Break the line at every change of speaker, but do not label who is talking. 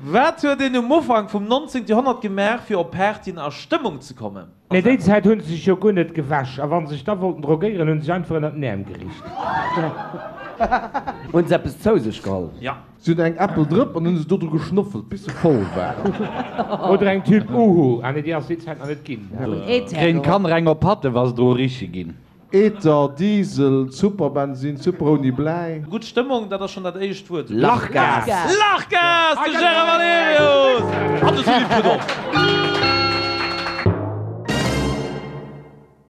Wat hue den um Mofang vum 19. Jahrhundert gemerk fir op Pertin aus Stimmung zu kommen?
Ne Dezeit hunn sich jo gunnet gewasch, a wann sich da wollten drogieren hun sich einfach dat Näm gericht.
Und se bis zousech gall.
Ja
Süd eng Apple drpp an hunn se dotter geschnuffelt, bis se voll war.
Oder eng Typ er Uhu an Di Sitzheit an net ginn.
Den kann renger Patte was dro riche ginn.
Eter, Diesel, Superbensinn, Superoni blei.
gut Stimmung, dat er schon dat eicht huet.
Lachgas.
Lachgas de Gerard Valerius! Hat es lieb gedorft.